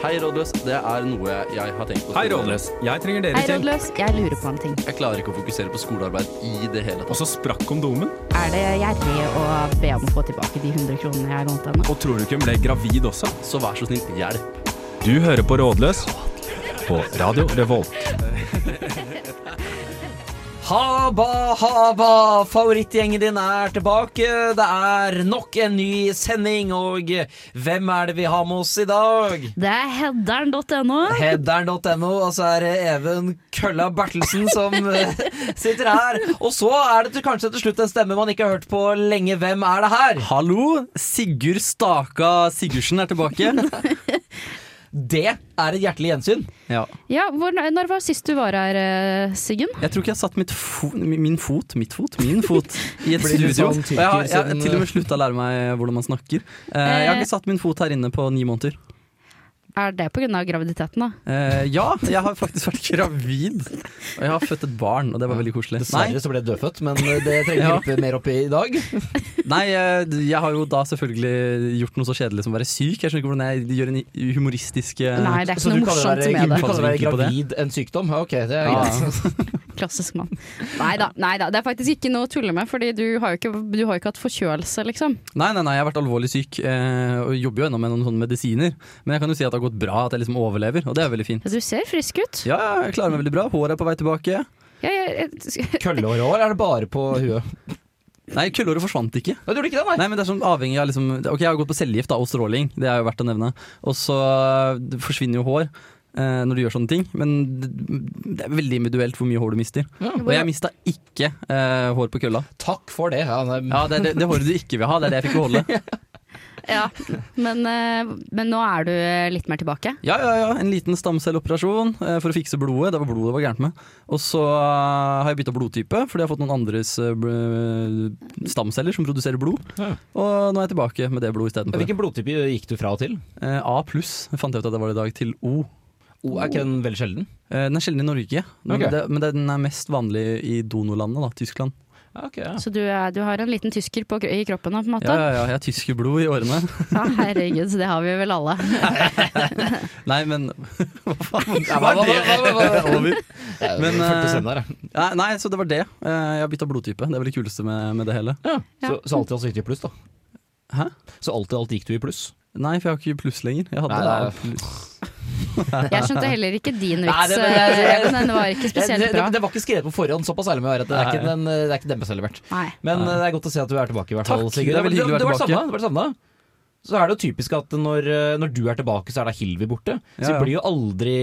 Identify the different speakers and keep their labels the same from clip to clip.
Speaker 1: Hei, rådløs. Det er noe jeg har tenkt på.
Speaker 2: Hei, Rådløs. Jeg trenger dere
Speaker 3: Hei,
Speaker 2: til.
Speaker 3: rådløs. Jeg lurer på en ting.
Speaker 1: Jeg klarer ikke å fokusere på skolearbeid i det hele tatt.
Speaker 2: Og så sprakk kondomen.
Speaker 3: Er det gjerrig å be om å få tilbake de 100 kronene jeg lånte henne?
Speaker 2: Og tror du ikke hun ble gravid også?
Speaker 1: Så vær så snill, hjelp.
Speaker 2: Du hører på Rådløs på Radio Revolt.
Speaker 4: Haba, haba, favorittgjengen din er tilbake. Det er nok en ny sending, og hvem er det vi har med oss i dag?
Speaker 3: Det er hedderen.no.
Speaker 4: Hedderen.no, og så er det Even Kølla Bertelsen som eh, sitter her. Og så er det til- kanskje til slutt en stemme man ikke har hørt på lenge. Hvem er det her?
Speaker 5: Hallo, Sigurd Staka Sigurdsen er tilbake.
Speaker 4: Det er et hjertelig gjensyn.
Speaker 5: Ja.
Speaker 3: Ja, hvor, når var sist du var her, eh, Siggen?
Speaker 5: Jeg tror ikke jeg satt mitt fo min fot, mitt fot, min fot i et
Speaker 4: Blir du
Speaker 5: studio.
Speaker 4: sånn
Speaker 5: Og
Speaker 4: tyrker
Speaker 5: jeg har, jeg har
Speaker 4: som-
Speaker 5: til og med slutta å lære meg hvordan man snakker. Eh, Jeg har ikke satt min fot her inne på ni måneder.
Speaker 3: Er det pga. graviditeten, da?
Speaker 5: Eh, ja, jeg har faktisk vært gravid. Og jeg har født et barn, og det var veldig koselig. Nei,
Speaker 4: så ble du dødfødt, men eh, det trenger
Speaker 5: Ja.
Speaker 4: hjelpe mer opp i i dag.
Speaker 5: nei, eh, jeg har jo da selvfølgelig gjort noe så kjedelig som å være syk. Jeg skjønner ikke hvordan jeg gjør en humoristisk eh,
Speaker 3: Nei, det er
Speaker 4: Så
Speaker 3: ikke noe
Speaker 4: du kaller
Speaker 3: morsomt med
Speaker 4: det,
Speaker 3: det.
Speaker 4: du kaller det
Speaker 5: Fallsvinkel på det.
Speaker 4: gravid en sykdom? Ok, det er
Speaker 5: Ja.
Speaker 4: greit.
Speaker 3: Klassisk mann. Nei da, det er faktisk ikke noe å tulle med, fordi du har jo ikke, du har jo ikke hatt forkjølelse, liksom.
Speaker 5: Nei, nei, nei, jeg har vært alvorlig syk eh, og jobber jo ennå med noen sånne medisiner. Men jeg kan jo si at det har gått bra, at jeg liksom overlever, og det er veldig fint.
Speaker 3: Ja, Du ser frisk ut.
Speaker 5: Ja, ja, jeg klarer meg veldig bra. Håret er på vei tilbake.
Speaker 3: Ja, jeg, jeg,
Speaker 4: Køllehår er det bare på huet.
Speaker 5: Nei, køllehåret forsvant ikke.
Speaker 4: Nei, du gjorde ikke det, nei.
Speaker 5: Nei, men det er sånn avhengig av liksom Ok, jeg har gått på cellegift da, og stråling, det er jo verdt å nevne. Og så det forsvinner jo hår eh, når du gjør sånne ting, men det, det er veldig individuelt hvor mye hår du mister. Og jeg mista ikke eh, hår på kølla.
Speaker 4: Takk for det. Ja, nei,
Speaker 5: Ja, det, er det, det håret du ikke vil ha, det er det jeg fikk beholde.
Speaker 3: ja. Men, eh, men nå er du eh, litt mer tilbake.
Speaker 5: Ja, ja, ja, en liten stamcelleoperasjon eh, for å fikse blodet. Det var blodet det var gærent med. Og så eh, har jeg bytta blodtype, fordi jeg har fått noen andres eh, bl- eh, stamceller som produserer blod.
Speaker 4: Ja.
Speaker 5: Og nå er jeg tilbake med det blodet istedenfor.
Speaker 4: Hvilken blodtype gikk du fra og til?
Speaker 5: Eh, A pluss fant jeg ut at det var i dag, til O.
Speaker 4: O, er ikke den veldig sjelden?
Speaker 5: Eh, den er sjelden i Norge, men,
Speaker 4: Ok.
Speaker 5: det, men den er mest vanlig i donorlandene, da, Tyskland.
Speaker 3: Så du, er, du har en liten tysker på, i kroppen nå, på en måte?
Speaker 5: Ja, ja, ja, jeg har tyskerblod i årene.
Speaker 3: Ja, herregud, så det har vi vel alle.
Speaker 5: Nei, men Hva faen
Speaker 4: Ja, hva- hva- hva- hva- hva-
Speaker 5: over?
Speaker 4: Jeg
Speaker 5: Men,
Speaker 4: følte
Speaker 5: eh,
Speaker 4: seg der, jeg.
Speaker 5: Nei, nei, så det var det. Eh, jeg har bytta blodtype. Det er vel det kuleste med, med det hele.
Speaker 3: Ja.
Speaker 4: Så, så alltid alt gikk du i pluss, da.
Speaker 5: Hæ?
Speaker 4: Så alltid alt gikk du i pluss.
Speaker 5: Nei, for jeg har ikke pluss lenger. Jeg hadde
Speaker 4: Nei, nei.
Speaker 5: A pluss.
Speaker 3: Jeg skjønte heller ikke din
Speaker 4: Nei,
Speaker 3: vits,
Speaker 4: det- det- det-
Speaker 3: eh, Even, den var ikke
Speaker 4: Det, det,
Speaker 3: spesielt bra.
Speaker 4: det var ikke skrevet på forhånd, såpass ærlig må jeg være. at Det er ikke,
Speaker 5: Nei.
Speaker 4: den, eh, det er ikke dem selv levert.
Speaker 3: Nei.
Speaker 4: Men eh, det er godt å se at du er tilbake, i hvert
Speaker 5: Takk,
Speaker 4: fall.
Speaker 5: det er veldig hyggelig å være tilbake.
Speaker 4: Det var savna. Så er det jo typisk at når, eh, når du er tilbake, så er da Hilvi borte. Så
Speaker 5: Ja, ja.
Speaker 4: vi blir jo aldri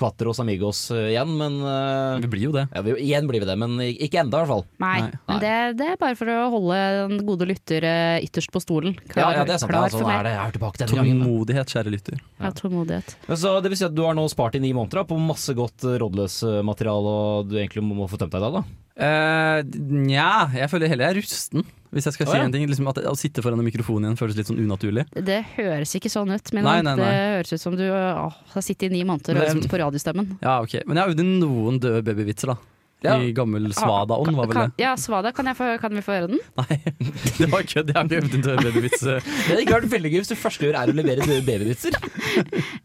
Speaker 4: Quatros Amigos eh, igjen, men eh,
Speaker 5: Vi blir jo det.
Speaker 4: ja, vi, Igjen blir vi det, men ikke enda, i hvert fall.
Speaker 3: Nei.
Speaker 5: Nei.
Speaker 3: Men det, det er bare for å holde den gode lytter eh, ytterst på stolen.
Speaker 4: Ja,
Speaker 3: Klar,
Speaker 4: ja, det er sant.
Speaker 3: klar
Speaker 4: Ja, sånn
Speaker 3: for
Speaker 4: er
Speaker 3: mer.
Speaker 4: det. Jeg er tilbake denne gangen. da.
Speaker 5: Tålmodighet, kjære lytter.
Speaker 3: Ja, tålmodighet.
Speaker 4: Men så det vil si at du har nå spart i ni måneder da, på masse godt eh, rådløs eh, materiale og du egentlig må må få tømt deg i dag, da.
Speaker 5: Eh, Nja, jeg føler heller jeg er rusten. Hvis jeg skal
Speaker 4: Å,
Speaker 5: si
Speaker 4: ja.
Speaker 5: en ting liksom At Å sitte foran en mikrofon igjen føles litt sånn unaturlig.
Speaker 3: Det høres ikke sånn ut, men
Speaker 5: Nei, nei, nei.
Speaker 3: det høres ut som du åh, har sittet i ni måneder og
Speaker 5: Men-
Speaker 3: øvd på radiostemmen.
Speaker 5: Ja, ok Men jeg øvde noen døde babyvitser, da.
Speaker 4: Ja.
Speaker 5: I gammel svadaånd, var vel det.
Speaker 3: Kan, ja, Svada, kan, jeg få, kan vi få høre den?
Speaker 5: Nei, det var kødd. Jeg har ikke øvd en død babyvits. eh.
Speaker 4: Det hadde ikke vært veldig gøy hvis det første du gjør er å levere døde babyvitser.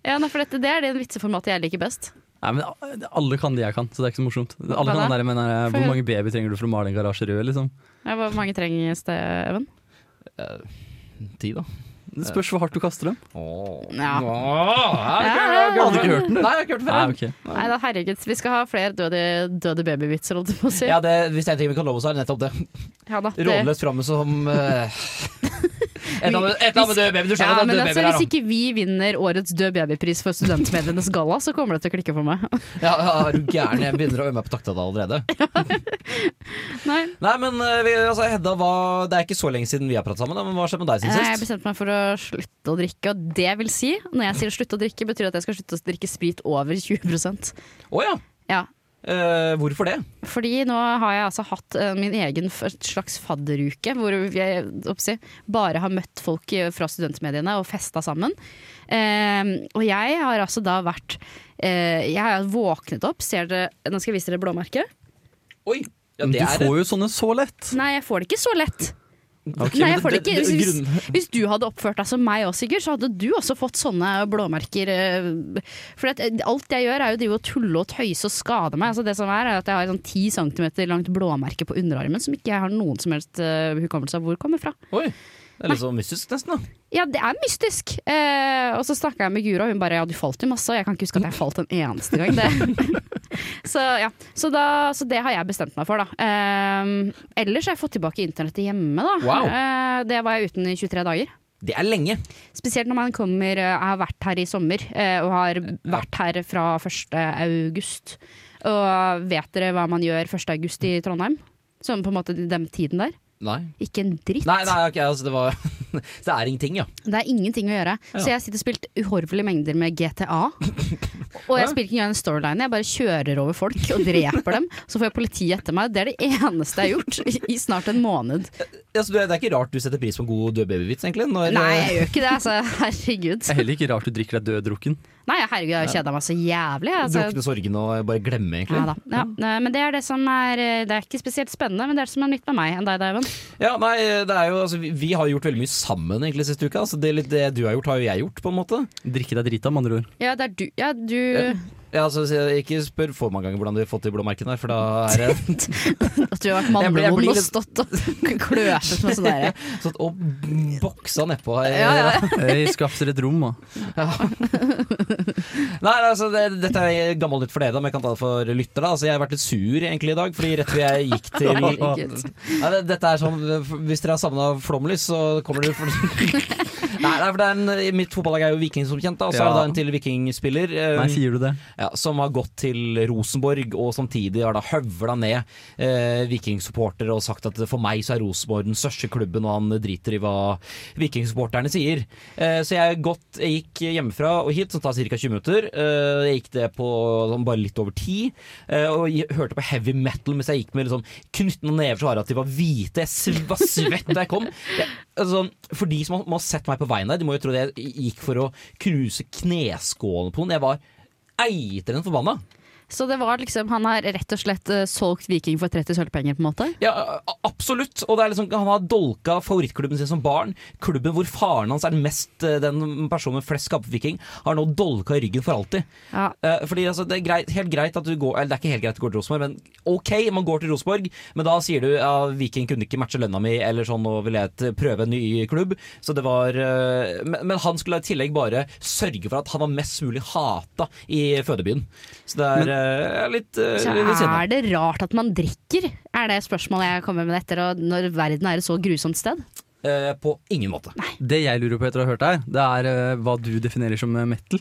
Speaker 3: Ja, nei, for dette, Det er det vitseformatet jeg liker best.
Speaker 5: Nei, men a- Alle kan det jeg kan, så det er ikke så morsomt. Alle
Speaker 3: Hva
Speaker 5: kan
Speaker 3: da?
Speaker 5: den der, men eh,
Speaker 3: Få
Speaker 5: Hvor
Speaker 3: høre.
Speaker 5: mange baby trenger du for å male en garasje rød, liksom?
Speaker 3: Ja, Hvor mange trengs det, Even?
Speaker 4: Ti, da.
Speaker 5: Det spørs hvor hardt du kaster dem.
Speaker 3: Ja.
Speaker 5: Jeg hadde ikke hørt den, du.
Speaker 4: Nei, jeg har ikke hørt det
Speaker 5: Nei,
Speaker 4: før.
Speaker 5: ok
Speaker 3: Nei da, herregud. Vi skal ha flere døde, døde babyvitser, holdt jeg på å si.
Speaker 4: Ja, det, hvis det er en ting vi kan love oss, er det nettopp det.
Speaker 3: Ja, da, det-
Speaker 4: Rådløst framme som eh, Et eller annet- et eller annet med døde baby. Du
Speaker 3: Ja,
Speaker 4: skjønner at det
Speaker 3: men
Speaker 4: er
Speaker 3: altså,
Speaker 4: døde babyer her
Speaker 3: Hvis
Speaker 4: nå.
Speaker 3: ikke vi vinner årets død babypris for studentmedlemmenes galla, så kommer det til å klikke for meg.
Speaker 4: Ja, ja, er du gæren? Jeg begynner å øve meg på takta da allerede.
Speaker 3: Nei.
Speaker 4: Nei, men eh, vi, altså, Hedda, hva, det er ikke så lenge siden vi har pratet sammen, da, men hva har skjedd med deg siden
Speaker 3: Eh, Jeg
Speaker 4: sist?
Speaker 3: bestemte meg for å slutte å drikke, og det vil si, når jeg sier slutte å drikke, betyr det at jeg skal slutte å drikke sprit over 20
Speaker 4: Å ja.
Speaker 3: Ja.
Speaker 4: Eh, hvorfor det?
Speaker 3: Fordi nå har jeg altså hatt eh, min egen f- slags fadderuke, hvor jeg oppsi, bare har møtt folk i- fra studentmediene og festa sammen. Eh, og jeg har altså da vært eh, Jeg har våknet opp, ser dere Nå skal jeg vise dere blåmerket.
Speaker 4: Oi, ja,
Speaker 5: Men
Speaker 4: det
Speaker 5: du
Speaker 4: er
Speaker 5: får jo sånne så lett.
Speaker 3: Nei, jeg får det ikke så lett.
Speaker 5: Ok,
Speaker 3: Nei,
Speaker 5: men
Speaker 3: jeg får det
Speaker 5: det-
Speaker 3: ikke.
Speaker 5: det-
Speaker 3: Hvis,
Speaker 5: grunnen-
Speaker 3: hvis- hvis du hadde oppført deg som meg også, Sigurd, så hadde du også fått sånne blåmerker. eh, For at eh, alt jeg gjør, er jo å drive og tulle og tøyse og skade meg. Altså det som er, er at Jeg har sånn 10 cm langt blåmerke på underarmen som ikke jeg har noen som helst eh, hukommelse av hvor kommer fra.
Speaker 4: Oi. Det er litt sånn mystisk, nesten. da
Speaker 3: Ja, det er mystisk! Eh, og så snakka jeg med Guro, og hun bare ja, du falt jo masse. Og jeg kan ikke huske at jeg falt en eneste gang. Det. så ja, så, da, så det har jeg bestemt meg for, da. Eh, ellers har jeg fått tilbake internettet hjemme, da.
Speaker 4: Wow.
Speaker 3: Eh, det var jeg uten i 23 dager.
Speaker 4: Det er lenge.
Speaker 3: Spesielt når man kommer eh, Jeg har vært her i sommer, eh, og har vært her fra 1. august. Og vet dere hva man gjør 1. august i Trondheim? Som på en måte den tiden der?
Speaker 4: Nei.
Speaker 3: Ikke en dritt.
Speaker 4: Nei, nei, ok, altså det var Det er ingenting, ja.
Speaker 3: Det er ingenting å gjøre. Så jeg sitter og spilt uhorvelige mengder med GTA. Og jeg spiller ikke engang en storyline, jeg bare kjører over folk og dreper dem. Så får jeg politiet etter meg. Det er det eneste jeg har gjort i- i snart en måned.
Speaker 4: Altså, du- det er ikke rart du setter pris på en god død babyvits, egentlig. Når, eh,
Speaker 3: Nei, jeg gjør ikke det, altså. Herregud.
Speaker 5: Det er heller ikke rart du drikker deg døddrukken.
Speaker 3: Nei, herregud, jeg har kjeda meg så jævlig. jeg. Altså,
Speaker 4: Drukne sorgene og bare glemme, egentlig.
Speaker 3: Ja da. Ja. Nei, Men det er det som er eh, Det er ikke spesielt spennende, men det er det som er nytt med meg enn deg, Daiven.
Speaker 4: Ja, nei, det er jo, altså, vi, vi har gjort veldig mye sammen egentlig siste uka. Altså, det, er litt det du har gjort, har jo jeg gjort, på en måte.
Speaker 5: Drikke deg drita, med andre ord.
Speaker 3: Ja, det er du. Ja, du
Speaker 4: Ja, altså, så jeg- ikke spør for mange ganger hvordan du har fått de blåmerkene her, for da er det
Speaker 3: At du har vært
Speaker 4: Jeg blir- jeg blir
Speaker 3: mannevond og
Speaker 4: litt-
Speaker 3: stått og kløset med sånn derre
Speaker 4: sånn å boksa nedpå her.
Speaker 3: ja, ja.
Speaker 5: Øy, skaff dere et rom, da.
Speaker 4: Nei, nei, altså, det, dette er gammelt nytt for deg, da, men jeg kan ta det for lytter. da altså, Jeg har vært litt sur egentlig i dag, fordi rett før jeg gikk til
Speaker 3: Herregud.
Speaker 4: Nei, det- Dette er sånn Hvis dere har savna flomlys, så kommer dere for... Nei, nei, for det er en, mitt fotballag er jo Viking, som kjent. da Og så er det
Speaker 5: Ja.
Speaker 4: da en til Vikingspiller. eh,
Speaker 5: Nei, sier du det?
Speaker 4: ja, som har gått til Rosenborg og samtidig har da høvla ned eh, vikingsupportere og sagt at for meg så er Rosenborg den største klubben, og han driter i hva vikingsupporterne sier. Eh, så jeg, gått, jeg gikk hjemmefra og hit, som tar ca. 20 minutter. Eh, jeg gikk det på sånn, bare litt over 10, eh, og jeg hørte på heavy metal mens jeg gikk med liksom, knyttende never så harde at de var hvite. Jeg sv- var svett da jeg kom. Jeg, altså, for de som har- må ha sett meg på veien der, de må jo tro det jeg gikk for å knuse kneskålen på noen. Jeg var eitrende forbanna.
Speaker 3: Så det var liksom Han har rett og slett eh, solgt Viking for 30 sølvpenger, på en måte?
Speaker 4: Ja, a- absolutt. Og det er liksom, han har dolka favorittklubben sin som barn. Klubben hvor faren hans er den mest, eh, den personen med flest skaperviking, har nå dolka i ryggen for alltid.
Speaker 3: Ja.
Speaker 4: Eh, fordi altså, Det er greit, helt greit at du går Eller det er ikke helt greit at du går til Rosenborg, men ok, man går til Rosenborg, men da sier du ja, Viking kunne ikke matche lønna mi, eller sånn, nå vil jeg t- prøve en ny klubb. Så det var eh, men, men han skulle i tillegg bare sørge for at han var mest mulig hata i fødebyen. Så det er eh, litt, uh,
Speaker 3: Så
Speaker 4: litt synd.
Speaker 3: er det rart at man drikker? Er det spørsmålet jeg kommer med etter og når verden er et så grusomt sted?
Speaker 4: Eh, på ingen måte.
Speaker 5: Det jeg lurer på etter å ha hørt deg, det er eh, hva du definerer som eh, metal.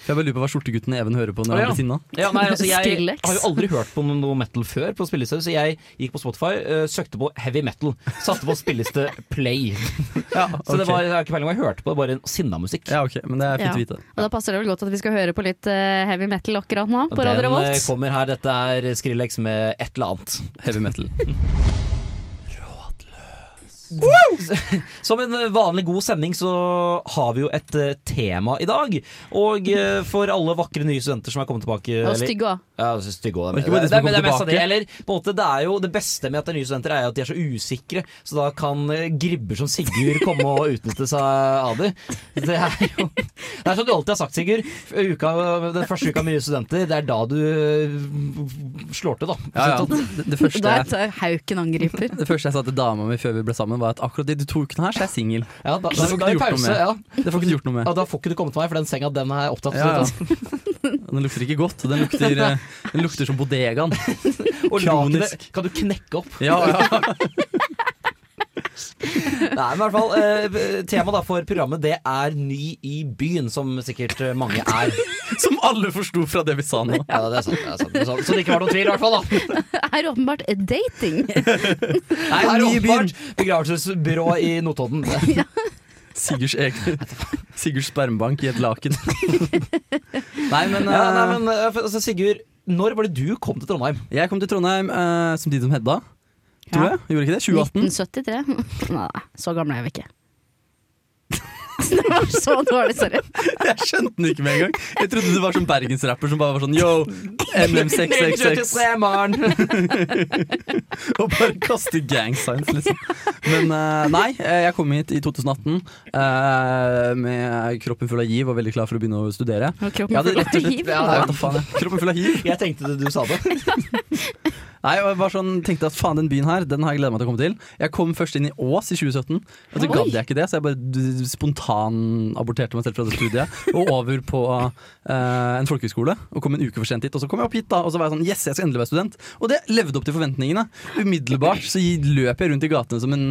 Speaker 5: For jeg bare lurer på hva skjortegutten Even hører på når
Speaker 4: Å,
Speaker 5: han
Speaker 4: ja.
Speaker 5: blir sinna.
Speaker 4: Ja, nei, altså, jeg
Speaker 3: Skrillex.
Speaker 4: har jo aldri hørt på noe metal før på spilleliste, så jeg gikk på Spotify, eh, søkte på heavy metal, satte på spilleliste play. Så det
Speaker 5: ok.
Speaker 4: var, jeg har ikke peiling på hva jeg hørte på, det var bare sinna musikk.
Speaker 5: Ja, ok, men det er fint å vite.
Speaker 3: Og da passer det vel godt at vi skal høre på litt eh, heavy metal akkurat nå? På Radio
Speaker 4: Den eh,
Speaker 3: Revolt.
Speaker 4: kommer her, dette er Skrillex med et eller annet.
Speaker 5: Heavy metal.
Speaker 4: Som en vanlig god sending så har vi jo et eh, tema i dag. Og eh, for alle vakre nye studenter som er kommet tilbake
Speaker 3: Og
Speaker 4: eller-
Speaker 3: stygge òg.
Speaker 4: Ja, altså, stygge også,
Speaker 5: Men
Speaker 4: det,
Speaker 5: ikke bare de som
Speaker 4: det, det, det, er
Speaker 5: kommer
Speaker 4: mest av det,
Speaker 5: tilbake.
Speaker 4: eller, på en måte, det er jo det beste med at det er nye studenter, er jo at de er så usikre. Så da kan eh, gribber som Sigurd komme og utnytte seg av dem. Det er jo Det er som du alltid har sagt, Sigurd. Uka, den første uka med nye studenter, det er da du eh, slår til, da.
Speaker 5: Ja, ja. Det, det, første
Speaker 3: Da
Speaker 5: jeg,
Speaker 3: er Hauken angriper.
Speaker 5: det første jeg sa til dama mi før vi ble sammen, var at akkurat de to ukene her, så er jeg singel.
Speaker 4: Ja, da, da,
Speaker 5: Så får
Speaker 4: da, er
Speaker 5: ikke du
Speaker 4: det
Speaker 5: gjort noe
Speaker 4: pause.
Speaker 5: med.
Speaker 4: Ja.
Speaker 5: Det får ikke du gjort noe
Speaker 4: Ja,
Speaker 5: med.
Speaker 4: da får ikke du kommet til meg, for den senga den er opptatt.
Speaker 5: Ja, ja. Den lukter ikke godt. Den lukter, eh, den lukter som bodegaen.
Speaker 4: Og lakenet
Speaker 5: Kronisk.
Speaker 4: kan du knekke opp.
Speaker 5: Ja, ja.
Speaker 4: Nei, men i hvert fall eh, Temaet da for programmet det er Ny i byen, som sikkert eh, mange er.
Speaker 5: Som alle forsto fra det vi sa nå.
Speaker 4: Ja, det er sant. Det er sant. Det er sant. Så det ikke var noen tvil, i hvert fall. da
Speaker 3: Er åpenbart dating.
Speaker 4: Nei,
Speaker 5: Ny
Speaker 4: Her
Speaker 5: i byen.
Speaker 4: åpenbart begravelsesbyrå i Notodden.
Speaker 5: Sigurds egen Sigurds spermbank i et laken. Nei, men,
Speaker 4: Ja, nei,
Speaker 5: eh,
Speaker 4: men eh, for- altså, Sigurd, når var det du kom til Trondheim?
Speaker 5: Jeg kom til Trondheim eh, som tid som Hedda. Tror
Speaker 3: Ja. Hm.
Speaker 5: jeg. Gjorde ikke det? 2018?
Speaker 3: 1973. Nei, så gammel er vi ikke. Det var så dårlig, sorry.
Speaker 5: Jeg skjønte den ikke med en gang. Jeg trodde du var sånn bergensrapper som bare var sånn yo, MM666. Og bare kaste gang signs, liksom. Men eh, nei, eh, jeg kom hit i 2018 eh, med kroppen full av giv og veldig klar for å begynne å studere.
Speaker 3: Og kroppen
Speaker 5: Jeg hadde
Speaker 3: full av
Speaker 5: rett og slett-
Speaker 3: hiv.
Speaker 5: Ja, jeg vet da faen, jeg. Kroppen full av hiv.
Speaker 4: Jeg tenkte det du sa det.
Speaker 5: Nei, og jeg var sånn, tenkte at faen, den byen her, den har jeg gleda meg til å komme til. Jeg kom først inn i Ås i 2017, og så
Speaker 3: Oi.
Speaker 5: gadd jeg ikke det, så jeg bare d- spontanaborterte meg selv fra det studiet. Og over på eh, en folkehøyskole, og kom en uke for sent hit. Og så kom jeg opp hit, da, og så var jeg sånn yes, jeg skal endelig være student. Og det levde opp til forventningene. Umiddelbart så gi- løp jeg rundt i gatene som en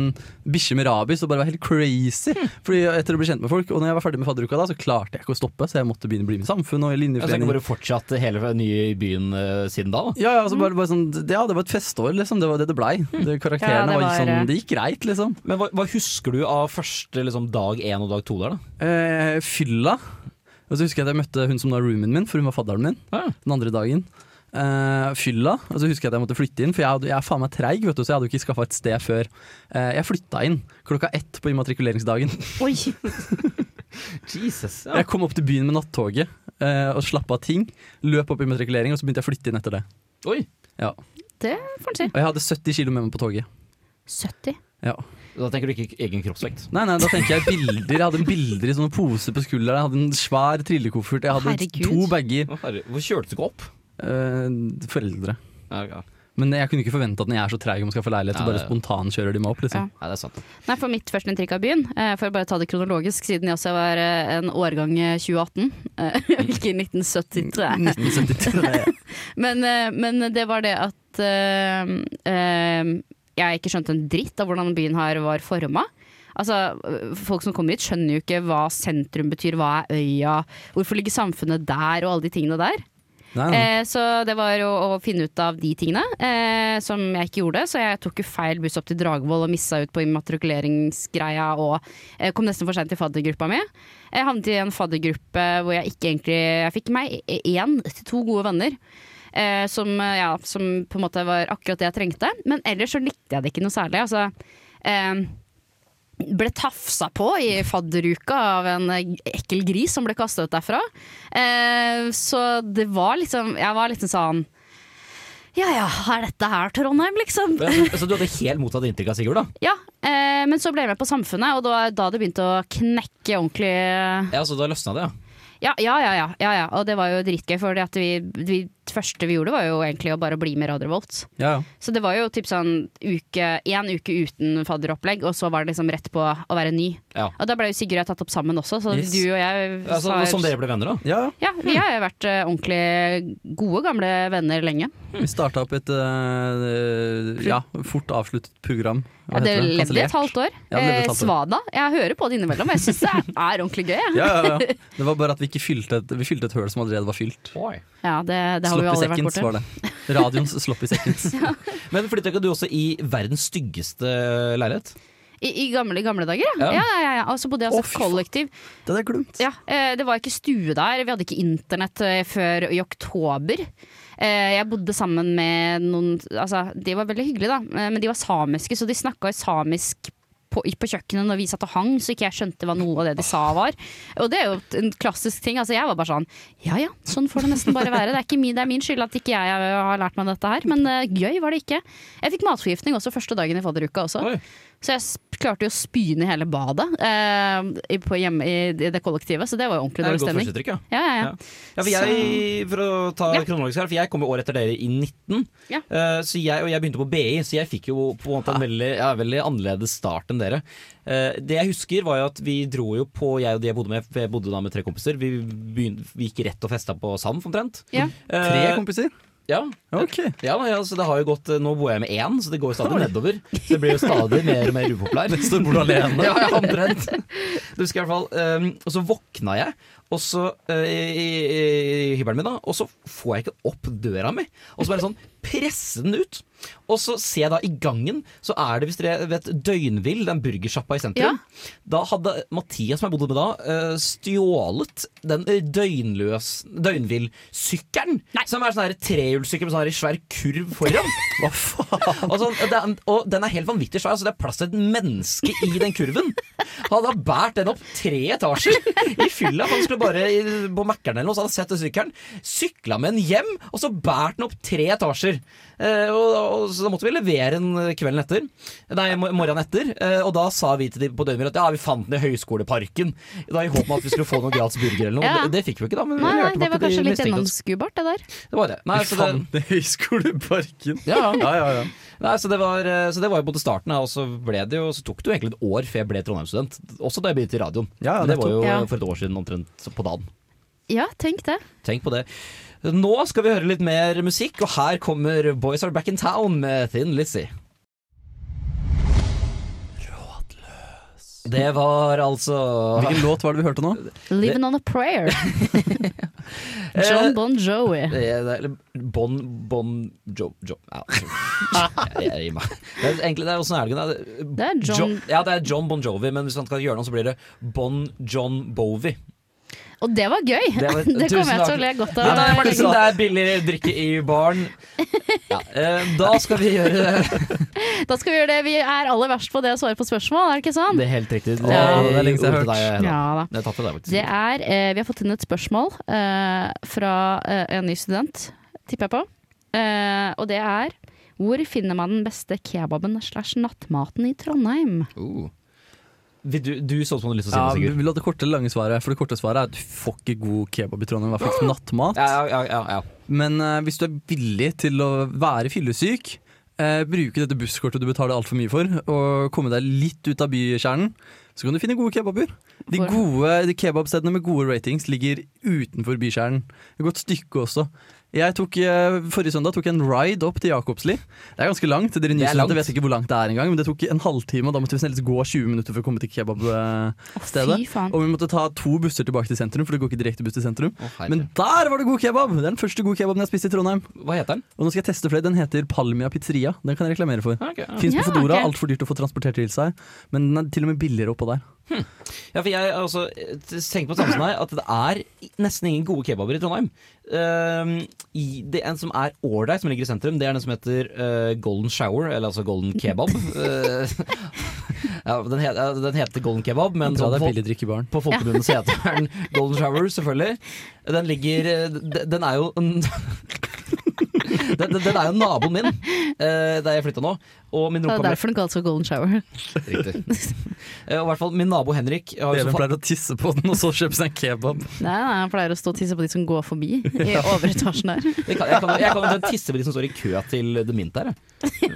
Speaker 5: bikkje med rabies og bare var helt crazy. Fordi etter å bli kjent med folk, og når jeg var ferdig med fadderuka da, så klarte jeg ikke å stoppe, så jeg måtte begynne å bli med i samfunn og i
Speaker 4: Altså, jeg
Speaker 5: linjeforening.
Speaker 4: har bare fortsatt hele nye i byen eh, siden da. da.
Speaker 5: Ja, ja, altså
Speaker 3: Mm.
Speaker 5: bare, bare sånn, det- ja, det var et festår, liksom. Det var det det blei. Det, karakterene
Speaker 3: Ja, det
Speaker 5: det var,
Speaker 3: var,
Speaker 5: ikke
Speaker 3: eh,
Speaker 5: sånn Det gikk greit, liksom.
Speaker 4: Men hva, hva husker du av første liksom, dag én og dag to der, da?
Speaker 5: Eh, fylla. Og så husker jeg at jeg møtte hun som var roomien min, for hun var fadderen min.
Speaker 4: Ja.
Speaker 5: Den andre dagen. Eh, fylla. Og så husker jeg at jeg måtte flytte inn, for jeg, hadde, jeg er faen meg treig, vet du, så jeg hadde jo ikke skaffa et sted før. Eh, jeg flytta inn klokka ett på immatrikuleringsdagen.
Speaker 3: Oi,
Speaker 4: Jesus.
Speaker 5: Jeg kom opp til byen med nattoget eh, og slapp av ting. Løp opp immatrikulering, og så begynte jeg å flytte inn etter det.
Speaker 4: Oi.
Speaker 5: Ja.
Speaker 3: det får en si.
Speaker 5: Og jeg hadde 70 kilo med meg på toget.
Speaker 3: 70.
Speaker 5: Ja.
Speaker 4: Da tenker du ikke egen kroppsvekt.
Speaker 5: Nei, nei, da tenker jeg bilder. Jeg hadde en bilder i sånne poser på skulderen. Jeg hadde en svær trillekoffert. Jeg hadde
Speaker 3: Herregud.
Speaker 5: to bager.
Speaker 4: Å, herre, Hvor kjølte du ikke opp?
Speaker 5: Eh, foreldre.
Speaker 4: Ja, ja.
Speaker 5: Men jeg kunne ikke forvente at når jeg er så treig om å skaffe leilighet, så
Speaker 4: Ja,
Speaker 5: bare
Speaker 4: det-
Speaker 5: spontankjører de meg opp. liksom.
Speaker 4: Nei, det er sant. da.
Speaker 3: Nei, for mitt første inntrykk av byen, eh, for å bare ta det kronologisk, siden jeg også var eh, en årgang eh, 2018, eh, ikke 1973.
Speaker 5: 1973.
Speaker 3: Men, eh, men det var det at eh, eh, jeg ikke skjønte en dritt av hvordan byen her var forma. Altså, øh, folk som kommer hit skjønner jo ikke hva sentrum betyr, hva er øya, hvorfor ligger samfunnet der og alle de tingene der.
Speaker 5: Nei, nei.
Speaker 3: Eh, så det var å, å finne ut av de tingene, eh, som jeg ikke gjorde. Så jeg tok jo feil buss opp til Dragvoll og missa ut på immatrikuleringsgreia og eh, kom nesten for seint til faddergruppa mi. Jeg havnet i en faddergruppe hvor jeg ikke egentlig Jeg fikk meg én til to gode venner. Eh, som, eh, ja, som på en måte var akkurat det jeg trengte. Men ellers så likte jeg det ikke noe særlig. Altså, eh, ble tafsa på i fadderuka av en eh, ekkel gris som ble kasta ut derfra. Eh, så det var liksom Jeg var liksom sånn Ja ja, er dette her Trondheim, liksom?
Speaker 4: Men, Så du hadde helt mottatt inntrykk av Sigurd, da?
Speaker 3: Ja. Eh, men så ble jeg med på Samfunnet, og det var da det begynte å knekke ordentlig.
Speaker 4: Ja, så da løsna det, ja.
Speaker 3: Ja, ja, ja. ja, ja, ja. Og det var jo dritgøy, for det at vi, vi, det første vi gjorde, var jo egentlig å bare bli med Radio Volt.
Speaker 5: Ja, ja.
Speaker 3: Så det var jo typ sånn uke, en uke uten fadderopplegg, og så var det liksom rett på å være ny.
Speaker 4: Ja.
Speaker 3: Og da ble jo Sigurd og jeg tatt opp sammen også, så
Speaker 5: Yes.
Speaker 3: du og jeg
Speaker 4: Altså,
Speaker 3: har-
Speaker 4: som dere ble venner, da?
Speaker 5: ja. ja.
Speaker 3: Ja, vi har jo vært eh, ordentlig gode gamle venner lenge.
Speaker 5: Vi starta opp et eh, ja, fort avsluttet program. Hva
Speaker 3: Ja, det
Speaker 5: heter
Speaker 3: levde i
Speaker 5: Kansellert.
Speaker 3: et halvt år.
Speaker 5: Ja, det levde et
Speaker 3: Eh,
Speaker 5: halvt år.
Speaker 3: Svada. Jeg hører på det innimellom, jeg syns det er er ordentlig gøy. jeg.
Speaker 5: Ja, ja, ja. Det var bare at vi ikke fylte et, vi fylte et høl som allerede var fylt.
Speaker 4: Oi.
Speaker 3: Ja, det, det har vi
Speaker 5: Sloppy
Speaker 3: jo aldri vært
Speaker 5: seconds
Speaker 3: borti.
Speaker 5: var det. Radioens sloppy seconds.
Speaker 4: Men flytta ikke du også i verdens styggeste leilighet?
Speaker 3: I, I gamle gamle dager, ja.
Speaker 4: Ja.
Speaker 3: ja, ja, ja, ja. Og så bodde jeg
Speaker 5: Å,
Speaker 3: altså
Speaker 5: fy faen.
Speaker 3: kollektiv.
Speaker 5: Det hadde jeg glemt.
Speaker 3: Ja, eh, det var ikke stue der, vi hadde ikke internett eh, før i oktober. Eh, Jeg bodde sammen med noen altså, De var veldig hyggelige, da, eh, men de var samiske, så de snakka samisk på, i- på kjøkkenet når vi satt og hang, så ikke jeg skjønte hva noe av det de sa var. Og det er jo en klassisk ting. Altså, jeg var bare sånn Ja ja, sånn får det nesten bare være. Det er, ikke min, det er min skyld at ikke jeg eh, har lært meg dette her, men eh, gøy var det ikke. Jeg fikk matforgiftning også første dagen i fadderuka også.
Speaker 4: Oi.
Speaker 3: Så jeg sp- klarte jo å spyne i hele badet eh, i, på hjemme, i, i det kollektivet, så det var jo ordentlig
Speaker 4: Det er
Speaker 3: dårlig
Speaker 4: et godt
Speaker 3: stemning.
Speaker 4: førsteinntrykk, ja.
Speaker 3: Ja, ja, ja.
Speaker 4: Ja. Ja, for jeg, for å ta
Speaker 3: Ja.
Speaker 4: kronologisk her, for jeg kom jo året etter dere i 19,
Speaker 3: Ja. Ah.
Speaker 4: eh, så jeg, og jeg begynte på BI, så jeg fikk jo på en måte en veldig, ja, veldig annerledes start enn dere. Eh, det jeg husker var jo at vi dro jo på, jeg og de jeg bodde med, for jeg bodde da med tre kompiser, vi, begynte, vi gikk rett og festa på Sand, omtrent.
Speaker 3: Ja.
Speaker 5: Tre
Speaker 4: Eh,
Speaker 5: kompiser?
Speaker 4: ja,
Speaker 5: Ok.
Speaker 4: ja, da, ja, så det har jo gått, eh, nå bor jeg med én, så det går jo stadig nedover. Så det blir jo stadig mer og mer upopulær.
Speaker 5: Står bor du alene?
Speaker 4: ehm, Ja, ja, omtrent. Det husker jeg i hvert fall. Um, og så våkna jeg Og så eh, i, i, i hybelen min, da. Og så får jeg ikke opp døra mi. Og så bare sånn presse den ut. Og så ser jeg da i gangen, så er det hvis dere vet Døgnvill, den burgersjappa i sentrum.
Speaker 3: Ja.
Speaker 4: Da hadde Mathias, som jeg bodde med da, eh, stjålet den eh, døgnløs Døgnvill-sykkelen.
Speaker 3: Nei.
Speaker 4: Som er sånn her trehjulssykkel med sånn her svær kurv foran. Hva faen? Og, sånn, og den, og den er helt vanvittig svær, så det er plass til et menneske i den kurven. Han har båret den opp tre etasjer i fylla. Han skulle bare i- på Mækkern eller noe, så hadde han sett den sykkelen. Sykla med den hjem, og så båret den opp tre etasjer. Eh, og, og, så da måtte vi levere den eh, kvelden etter. Nei, mo- morgenen etter. Eh, og da sa vi til de på Døgnvill at ja, vi fant den i Høyskoleparken. Da I håp om at vi skulle få noe gratis burger eller noe.
Speaker 3: Ja.
Speaker 4: Det, det fikk vi ikke, da. Men
Speaker 3: Nei,
Speaker 4: vi
Speaker 3: nei,
Speaker 4: hørte
Speaker 3: det var
Speaker 4: bare at de
Speaker 3: kanskje litt
Speaker 4: mistenkte oss.
Speaker 3: gjennomskuebart, det der.
Speaker 4: Det var det. Nei, så det,
Speaker 5: Fant det i Høyskoleparken.
Speaker 4: ja, ja.
Speaker 5: Ja, ja, ja.
Speaker 4: Nei, så det, var, eh, så det var jo både starten, og så, ble det jo, så tok det jo egentlig et år før jeg ble Trondheim-student. Også da jeg begynte i radioen.
Speaker 5: Ja, ja,
Speaker 4: Men det var jo
Speaker 3: nettopp. Ja.
Speaker 4: for et år siden omtrent på dagen.
Speaker 3: Ja, tenk det.
Speaker 4: Tenk på det. Nå skal vi høre litt mer musikk, og her kommer Boys Are Back In Town med Thin Lizzie. Rådløs Det var altså
Speaker 5: Hvilken låt var det vi hørte nå?
Speaker 3: Living on a prayer.
Speaker 4: Eh,
Speaker 3: John Bon Jovi.
Speaker 4: Det er- det er- Bon Bon Jo... jo ja. Jeg jeg gir meg. Det er egentlig det er åssen er det ikke?
Speaker 3: Det er John-
Speaker 4: ja, det er John Bon Jovi, men hvis man skal gjøre noe, så blir det Bon John Bovi.
Speaker 3: Og det var gøy!
Speaker 4: Det
Speaker 3: Det,
Speaker 4: var-
Speaker 3: kommer
Speaker 4: tusen
Speaker 3: jeg til
Speaker 4: takk.
Speaker 3: å le godt
Speaker 4: Det
Speaker 3: av.
Speaker 4: er, liksom, det er billigere drikke i baren. Ja, eh, da skal vi gjøre
Speaker 3: Da skal vi gjøre det. Vi er aller verst på det å svare på spørsmål, er det ikke sant?
Speaker 4: Det er helt riktig.
Speaker 3: Ja.
Speaker 4: det er lenge siden jeg har hørt.
Speaker 3: Ja da.
Speaker 4: Det er tatt til deg, faktisk.
Speaker 3: Det er, eh, vi har fått inn et spørsmål eh, fra eh, en ny student, tipper jeg på. Eh, og det er hvor finner man den beste kebaben slash nattmaten i Trondheim?
Speaker 4: Oh. Vil du, du så ut som du hadde lyst til å si
Speaker 5: Ja,
Speaker 4: noe,
Speaker 5: vi
Speaker 4: Sigurd.
Speaker 5: vil ha det korte eller lange svaret. For det korte svaret er at du får ikke god kebab i Trondheim, i hvert fall ikke nattmat.
Speaker 4: Ja, ja, ja, ja.
Speaker 5: Men eh, hvis du er villig til å være fyllesyk, eh, bruke dette busskortet du betaler altfor mye for, og komme deg litt ut av bykjernen, så kan du finne gode kebaber. De
Speaker 3: Hvor-
Speaker 5: gode de kebabstedene med gode ratings ligger utenfor bykjernen. Et godt stykke også. Jeg tok, eh, forrige søndag tok jeg en ride opp til Jakobsli. Det er ganske langt. Dere
Speaker 4: Det er langt.
Speaker 5: nysnødte vet ikke hvor langt det er engang, men det tok en halvtime, og da måtte vi snillest gå 20 minutter for å komme til kebabstedet.
Speaker 3: Fy faen.
Speaker 5: Og vi måtte ta to busser tilbake til sentrum, for det går ikke direkte buss til sentrum.
Speaker 4: Å, herre.
Speaker 5: Men der var det god kebab! Det er den første gode kebaben jeg har spist i Trondheim.
Speaker 4: Hva heter den?
Speaker 5: Og nå skal jeg teste flere. Den heter Palmia Pizzeria. Den kan jeg reklamere for.
Speaker 4: Ah, ok, ja.
Speaker 5: Fins
Speaker 3: Ja,
Speaker 5: på Fodora,
Speaker 3: ok.
Speaker 5: altfor dyrt å få transportert til seg. Men den er til og med billigere oppå der.
Speaker 4: Ja, for jeg altså, tenker på det samme som deg, at det er nesten ingen gode kebaber i Trondheim. Ehm, i, det En som er ålreit, som ligger i sentrum, det er den som heter eh, Golden Shower, eller altså Golden Kebab. Eh, ja, den, het, ja, den heter Golden Kebab, men
Speaker 5: Dra
Speaker 4: sånn
Speaker 5: deg
Speaker 4: på-
Speaker 5: billig drikk i baren.
Speaker 4: på folkemunne så heter den Golden Shower, selvfølgelig. Den ligger eh, d- Den er jo en- Den, den er jo naboen min, eh, der jeg flytta nå. Og min
Speaker 3: Det er
Speaker 4: romkamerat
Speaker 3: derfor den kalles for golden shower.
Speaker 4: Riktig. Eh, Og i hvert fall min nabo Henrik har jo så
Speaker 5: Even
Speaker 4: fa-
Speaker 5: pleier å tisse på den, og så kjøpe seg en kebab.
Speaker 3: Nei, nei, Han pleier å stå og tisse på de som går forbi i overetasjen der.
Speaker 4: Jeg kan, jeg kan, jeg kan eventuelt tisse på de som står i kø til The Mint der. jeg.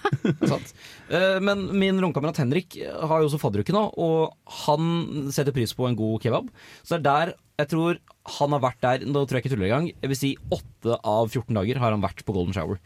Speaker 4: Sant? Eh, Men min romkamerat Henrik har jo også fadderuke nå, og han setter pris på en god kebab. Så det er der jeg tror han har vært der Nå tror jeg ikke jeg tuller engang. Jeg vil si åtte av 14 dager har han vært på Golden Shower.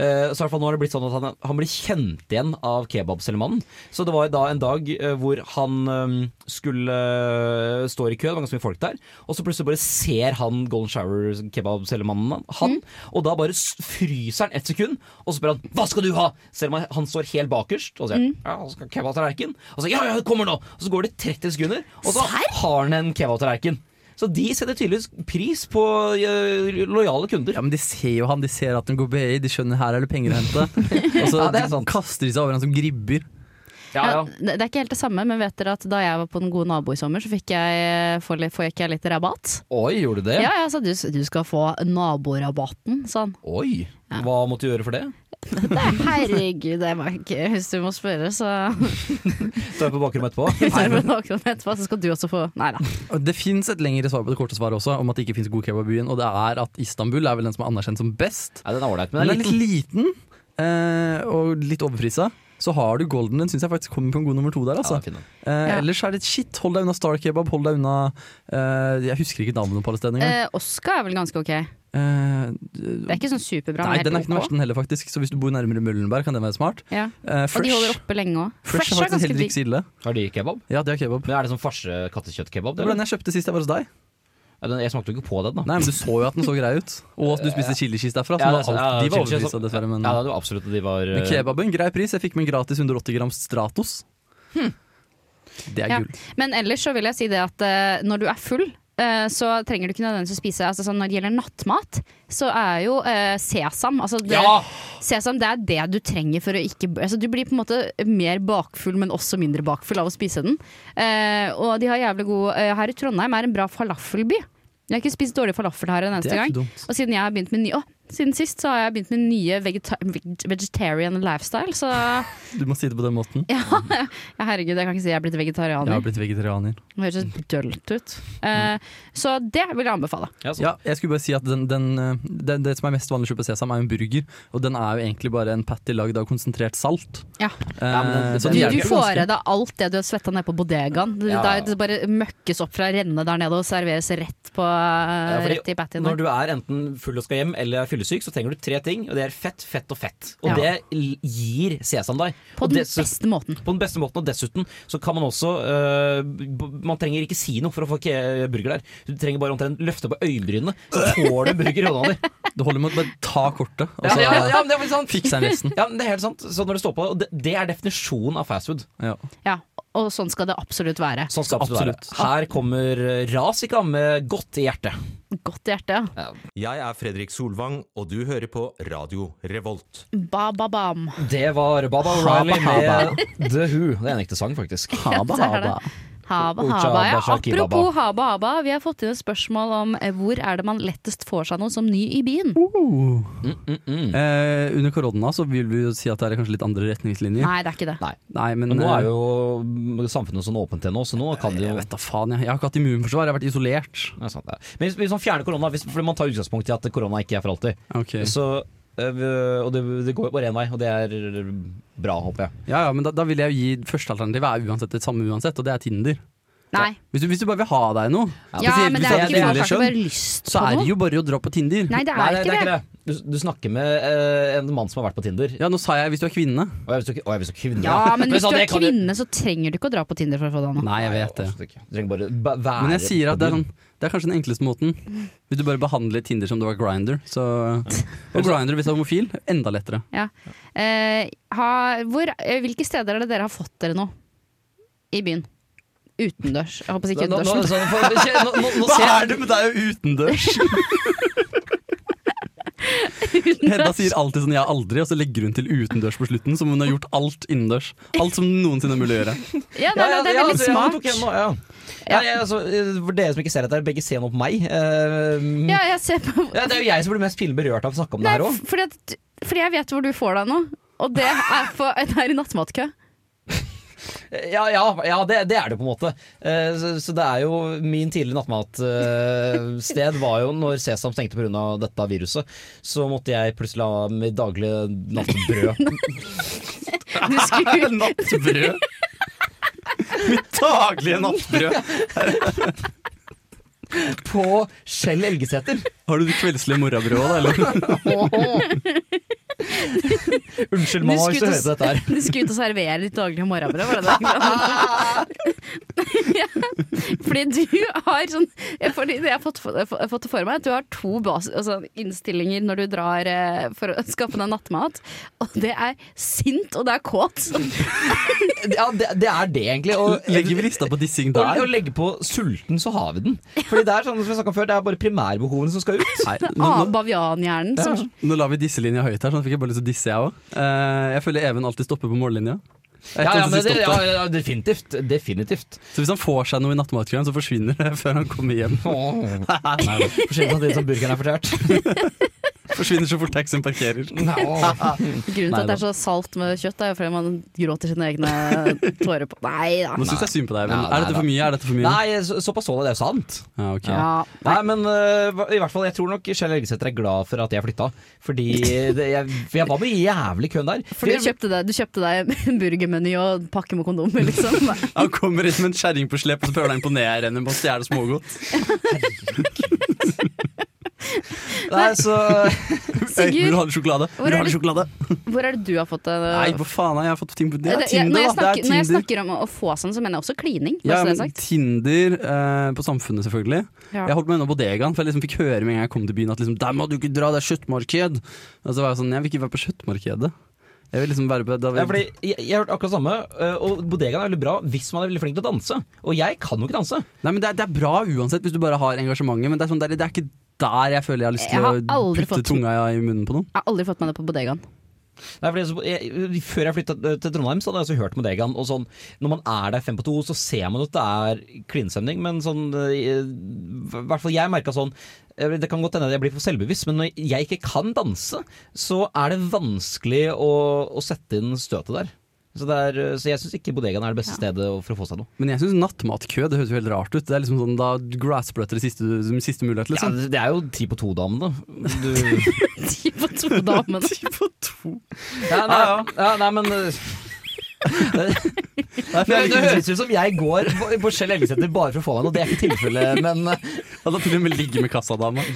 Speaker 4: Eh, Så i hvert fall nå har det blitt sånn at han, han blir kjent igjen av kebabselgemannen. Så det var da en dag eh, hvor han eh, skulle eh, stå i kø, det var ganske mye folk der, og så plutselig bare ser han Golden Shower-kebabselgemannen han, og da bare s- fryser han et sekund, og så spør han 'hva skal du ha?' Selv om han- han står helt bakerst, og så sier han 'ja, han skal ha kebabtallerken', og så 'ja, ja, det kommer nå', og så går det 30 sekunder, og så har han en kebabtallerken. Så de setter tydeligvis pris på eh, lojale kunder.
Speaker 5: Ja, men De ser jo han, de ser at den går BI, de skjønner her er det penger å hente. Og så
Speaker 4: Ja, det er sant.
Speaker 5: kaster de seg over han som gribber.
Speaker 3: Ja, det det er ikke helt det samme, men vet dere at da jeg var på Den gode nabo i sommer, så fikk jeg, får litt- får jeg ikke litt rabatt?
Speaker 4: Oi, gjorde du det?
Speaker 3: Ja, ja, sa du, du skal få naborabatten, sa han.
Speaker 4: Oi, Hva måtte du gjøre for det?
Speaker 3: Nei, herregud, det var ikke Hvis du må spørre, så
Speaker 4: Står jeg på bakrommet etterpå?
Speaker 3: Hvis jeg blir våken etterpå, så skal du også få Nei da.
Speaker 5: Og Det fins et lengre svar på det korte svaret også, om at det ikke fins god kebab i byen. Og det er at Istanbul er vel den som er anerkjent som best.
Speaker 4: Nei, den er ålreit, men
Speaker 5: Men den
Speaker 4: den er
Speaker 5: er
Speaker 4: litt
Speaker 5: litt liten eh, og litt overprisa. Så har du Golden. Den syns jeg faktisk kommer på en god nummer to der.
Speaker 4: ja, den
Speaker 5: Altså.
Speaker 4: er fin, den.
Speaker 5: Eh,
Speaker 3: Ja.
Speaker 5: Ellers er det et shit. Hold deg unna Star Kebab. Hold deg unna eh, Jeg husker ikke navnet på alle stedene engang.
Speaker 3: Eh, Oska er vel ganske ok. Det
Speaker 5: Eh,
Speaker 3: er ikke sånn superbra.
Speaker 5: nei,
Speaker 3: men helt
Speaker 5: den er ikke den
Speaker 3: ok.
Speaker 5: verste, den heller, faktisk. Så hvis du bor nærmere Møllenberg, kan den være smart.
Speaker 3: Ja.
Speaker 5: Eh,
Speaker 3: Og de holder
Speaker 5: Fresh.
Speaker 3: oppe lenge òg.
Speaker 5: Fresh er faktisk heller ikke så ille.
Speaker 4: Har de kebab?
Speaker 5: Ja, de har kebab.
Speaker 4: Men Er det sånn farse kattekjøttkebab?
Speaker 5: Det var den jeg kjøpte sist jeg var hos deg.
Speaker 4: Ja, den- Jeg smakte jo ikke på den, da.
Speaker 5: Nei, men du så jo at den så grei ut. Og at du spiste chiliskis derfra. Så det
Speaker 4: Ja,
Speaker 5: var
Speaker 4: det er sant.
Speaker 5: alt,
Speaker 4: Ja,
Speaker 5: de var
Speaker 4: chili cheese-
Speaker 5: overbevist, dessverre. Men,
Speaker 4: Ja, det var absolutt at de var
Speaker 5: men
Speaker 4: eh,
Speaker 5: kebaben, grei pris. Jeg fikk meg en gratis 180 gram Stratos. Det er
Speaker 3: Hm. Ja.
Speaker 5: gull.
Speaker 3: Men ellers så vil jeg si det at eh, når du er full eh, så trenger du ikke nødvendigvis å spise altså sånn Når det gjelder nattmat, så er jo eh, sesam altså det,
Speaker 4: Ja!
Speaker 3: Sesam det er det du trenger for å ikke altså Du blir på en måte mer bakfull, men også mindre bakfull av å spise den. Eh, og de har jævlig god eh, Her i Trondheim er en bra falafelby. Jeg har ikke spist dårlig falafel her en
Speaker 5: Det
Speaker 3: eneste
Speaker 5: er
Speaker 3: gang.
Speaker 5: ikke dumt.
Speaker 3: Og siden jeg har begynt med ny Å, siden sist så har jeg begynt med nye vegeta veg- vegetarian lifestyle, så
Speaker 5: Du må si det på den måten.
Speaker 3: ja, herregud, jeg kan ikke si jeg er blitt vegetarianer.
Speaker 5: Jeg har blitt vegetarianer.
Speaker 3: Det
Speaker 4: Mm.
Speaker 3: høres dølt ut. Eh, så det vil jeg anbefale.
Speaker 4: Ja, sånn.
Speaker 5: Ja, jeg skulle bare si at den, den, eh, den, Det som er mest vanlig å kjøpe sesam, er jo en burger. Og den er jo egentlig bare en patty lagd av konsentrert salt.
Speaker 3: Ja.
Speaker 4: men den-
Speaker 5: Eh, så
Speaker 3: Du,
Speaker 5: den
Speaker 3: du
Speaker 5: hjelper
Speaker 3: får i
Speaker 5: ganske.
Speaker 3: deg alt det du har svetta ned på bodegaen. Det,
Speaker 4: Ja.
Speaker 3: det er- det bare møkkes opp fra rennet der nede og serveres rett, på, eh,
Speaker 4: Ja, fordi
Speaker 3: rett i pattien. der.
Speaker 4: Når du er enten full og skal hjem eller er fyllesyk, så trenger du tre ting. Og det er fett, fett og fett. Og
Speaker 3: Ja.
Speaker 4: det l- gir sesam deg.
Speaker 3: På
Speaker 4: Og
Speaker 3: den
Speaker 4: dessu-
Speaker 3: beste måten.
Speaker 4: på den beste måten, og dessuten så kan man også øh, b- Man trenger ikke si noe for å få ke- burger der. Du trenger bare omtrent løfte på øyenbrynene, så får du burger i hånda di.
Speaker 5: Det holder med å bare ta kortet, og
Speaker 4: Ja,
Speaker 5: så
Speaker 4: ja, ja, men det er sånn- vel sant.
Speaker 5: fikser jeg resten.
Speaker 4: Ja, men det er helt sant. Så når det står på, og det, det er definisjonen av fast food.
Speaker 5: Ja.
Speaker 3: Ja, og sånn skal det absolutt være.
Speaker 4: Sånn skal det absolutt
Speaker 5: Absolutt.
Speaker 4: være. Her kommer
Speaker 3: eh,
Speaker 4: øh, Rasika med godt i hjertet.
Speaker 3: Godt i hjertet. ja.
Speaker 6: Jeg er Fredrik Solvang, og du hører på Radio Revolt.
Speaker 3: Ba, ba, bam.
Speaker 4: Det var Baba O'Reilly
Speaker 5: haba.
Speaker 4: med The Who. Det er en ekte sang, faktisk.
Speaker 5: Haba,
Speaker 3: Så er det.
Speaker 5: haba.
Speaker 3: Haba,
Speaker 4: Ucha,
Speaker 3: haba. Ja,
Speaker 4: basha, kibaba.
Speaker 3: apropos haba, haba. Vi har fått inn et spørsmål om eh, hvor er det man lettest får seg noe som ny i byen.
Speaker 5: Eh, under korona så vil vi jo si at det er kanskje litt andre retningslinjer.
Speaker 3: Nei, det er ikke det.
Speaker 4: Nei.
Speaker 5: Nei, men
Speaker 4: Men nå er
Speaker 5: eh,
Speaker 4: jo samfunnet sånn åpent igjen nå, så nå kan de jo
Speaker 5: Jeg vet da faen, jeg. Jeg har ikke hatt immunforsvar, jeg har vært isolert.
Speaker 4: Det er sant, det er. Men hvis, hvis man fjerner korona, hvis, for man tar utgangspunkt i at korona ikke er for alltid,
Speaker 5: Ok.
Speaker 4: så øh, og det, det går jo bare én vei, og det er bra, håper jeg.
Speaker 5: Ja, ja, men da, da vil jeg jo gi førstealternativet er uansett det samme uansett, og det er Tinder.
Speaker 3: Nei.
Speaker 5: Hvis du, hvis du bare vil ha deg noe,
Speaker 3: Ja,
Speaker 5: spesielt hvis
Speaker 3: men det er
Speaker 5: du
Speaker 3: ikke
Speaker 5: kvinnelig
Speaker 3: folk har ikke
Speaker 5: kjønn,
Speaker 3: bare lyst
Speaker 5: så
Speaker 3: på
Speaker 5: er det
Speaker 3: noe.
Speaker 5: jo bare å dra på Tinder.
Speaker 3: Nei, det er ikke det.
Speaker 4: Du, du snakker med øh, en mann som har vært på Tinder.
Speaker 5: Ja, nå sa jeg hvis du er kvinne.
Speaker 4: Og jeg visste ikke, å, jeg visste ikke kvinne.
Speaker 3: Ja, men hvis
Speaker 4: sånn,
Speaker 3: du er
Speaker 4: det kan du-
Speaker 3: kvinne, så trenger du ikke å dra på Tinder for å få deg noe.
Speaker 5: Nei, jeg vet det.
Speaker 4: absolutt ikke. Du trenger bare ba- være
Speaker 5: Men jeg sier at det er,
Speaker 4: på
Speaker 5: sånn, det er kanskje den enkleste måten. Hvis du bare behandler Tinder som det var Grinder, så Og Grinder hvis du er homofil, enda lettere.
Speaker 3: Ja. Eh, ha, hvor, eh, hvilke steder er det dere har fått dere noe i byen? Utendørs. Jeg håper ikke
Speaker 4: Nå, nå,
Speaker 3: utendørs.
Speaker 4: sånn, for, nå, nå, nå ser jeg
Speaker 5: det med deg utendørs? Hedda sier alltid sånn 'jeg har aldri', og så legger hun til utendørs på slutten. Som om hun har gjort alt innendørs. Alt som noensinne er mulig å gjøre.
Speaker 3: Ja, nei, nei, det er
Speaker 4: ja,
Speaker 3: veldig
Speaker 4: altså, ja, nå tok jeg den
Speaker 3: smart.
Speaker 4: nå, ja.
Speaker 3: Ja.
Speaker 4: Nei, altså, eh, for dere som ikke ser dette, her, begge ser nå på meg. Eh,
Speaker 3: Ja, jeg ser på
Speaker 4: ja, det er jo jeg som blir mest pinlig berørt av å snakke om
Speaker 3: Nei,
Speaker 4: det her òg.
Speaker 3: f- fordi, at, fordi jeg vet hvor du får deg noe. Og det er, på, det er i nattmatkø.
Speaker 4: Ja, ja, ja det, det er det på en måte. Eh, så, så det er jo Min tidligere nattmatsted var jo når Sesam stengte pga. dette viruset. Så måtte jeg plutselig ha mitt daglige nattbrød.
Speaker 3: Du skulle,
Speaker 5: Nattbrød. Mitt daglige nattbrød.
Speaker 4: På Skjell Elgesæter!
Speaker 5: Har du det kveldslige morrabrødet òg, da? Eller?
Speaker 4: Unnskyld,
Speaker 3: du,
Speaker 4: mamma, hvis du
Speaker 3: skulle
Speaker 4: hører
Speaker 3: ut
Speaker 4: på dette her.
Speaker 3: og- du skulle ut og servere ditt daglige morgenbrød, var det det? ja. Fordi du har sånn fordi Jeg har fått, jeg har fått det for meg at du har to bas, altså innstillinger når du drar eh, for å skaffe deg nattmat. Og det er sint, og det er kåt.
Speaker 4: Ja, det, det er det, egentlig. Og,
Speaker 5: Legger vi lista på dissing
Speaker 4: og, og
Speaker 5: der?
Speaker 4: legge på sulten, så har vi den. Fordi det er sånn som vi snakket om før, det er bare primærbehovene som skal ut.
Speaker 5: Nei, nå,
Speaker 3: Ah,
Speaker 5: nå,
Speaker 3: Bavianhjernen. som-
Speaker 5: Nå la vi disselinja høyt her, så nå fikk jeg bare lyst til å disse, jeg òg. jeg føler Even alltid stopper på mållinja. Jeg
Speaker 4: Ja,
Speaker 5: tar
Speaker 4: ja,
Speaker 5: det
Speaker 4: men
Speaker 5: siste
Speaker 4: det, ja,
Speaker 5: opptaket.
Speaker 4: ja, definitivt. Definitivt.
Speaker 5: Så hvis han får seg noe i nattmatkøen, så forsvinner det før han kommer hjem.
Speaker 4: Forskjellig fra det som burgeren er fortært.
Speaker 5: Forsvinner så fort taxien parkerer.
Speaker 3: Grunnen til at det er så salt med kjøtt, er jo fordi man gråter sine egne tårer på Nei da.
Speaker 5: Nå syns jeg synd på deg, Even.
Speaker 4: Ja, nei,
Speaker 5: er dette for mye? Er dette for mye?
Speaker 4: Nei, så, såpass så det, det er jo sant.
Speaker 5: Ja, ok.
Speaker 3: Ja.
Speaker 4: Nei, men øh, hva- i hvert fall, jeg tror nok Kjell Elgesæter er glad for at jeg flytta. Fordi det, jeg, for jeg var med jævlig køen der.
Speaker 3: For du kjøpte deg, du kjøpte deg en burgermeny og en pakke med kondomer, liksom.
Speaker 5: Han kommer inn med en kjerring på slep og så prøver han å imponere henne med å stjele smågodt.
Speaker 4: Det Nei, så
Speaker 5: Hey, vil du
Speaker 3: Sigurd,
Speaker 5: ha litt sjokolade?
Speaker 3: Hvor
Speaker 5: Vil du
Speaker 3: er
Speaker 5: ha litt
Speaker 3: det-
Speaker 5: sjokolade?
Speaker 3: hvor er det du har fått det?
Speaker 5: Nei, hva faen, jeg har fått ting på det. er
Speaker 3: Det- jeg-
Speaker 5: Tinder,
Speaker 3: når,
Speaker 5: da.
Speaker 3: jeg
Speaker 5: Det
Speaker 3: snakker, når
Speaker 5: er
Speaker 3: jeg
Speaker 5: Tinder.
Speaker 3: snakker om å å få sånn, så mener jeg også klining. bare
Speaker 5: Ja,
Speaker 3: så det er
Speaker 5: men
Speaker 3: sagt.
Speaker 5: Tinder eh, på Samfunnet, selvfølgelig.
Speaker 3: Ja.
Speaker 5: Jeg holdt meg unna bodegaen, for jeg liksom fikk høre med en gang jeg kom til byen at liksom, der må du ikke dra, det er kjøttmarked. Og så var jeg sånn, jeg vil ikke være på kjøttmarkedet. Jeg vil liksom være på da vil-
Speaker 4: ja, fordi jeg, jeg har hørt akkurat samme, øh, og bodegaen er veldig bra hvis man er veldig flink til å danse. Og jeg kan jo ikke danse.
Speaker 5: Nei, men det er, det er bra uansett, hvis du bare har engasjementet, men det er, sånn, det er, det er ikke der jeg føler jeg har lyst
Speaker 3: Jeg
Speaker 5: til
Speaker 3: har
Speaker 5: å
Speaker 3: aldri
Speaker 5: putte
Speaker 3: fått-
Speaker 5: tunga i munnen på noen.
Speaker 3: Jeg har aldri fått meg det på bodegaen.
Speaker 4: Nei, fordi så, jeg, før jeg flytta til Trondheim, så hadde jeg også hørt bodegaen. Og sånn, når man er der fem på to, så ser man jo at det er klinstemning, men sånn øh, I hvert fall jeg merka sånn øh, det kan godt hende at jeg blir for selvbevisst, men når jeg ikke kan danse, så er det vanskelig å, å sette inn støtet der. Så, det er, øh, så jeg syns ikke bodegaen er det beste stedet å- for å få seg noe.
Speaker 5: Men jeg syns nattmatkø det høres jo helt rart ut. Det er liksom sånn, Da grasper du etter det siste, som siste mulighet,
Speaker 4: Ja,
Speaker 5: liksom.
Speaker 4: det det er jo ti på to-damen, da. Du...
Speaker 3: Ti på to damer.
Speaker 4: Ja, nei, ja. nei, men uh, det, det, det høres ut som jeg går på, på Kjell Elgesæter bare for å få meg noe. Det er ikke tilfellet, men uh,
Speaker 5: Ja, da til og med ligge med kassadama.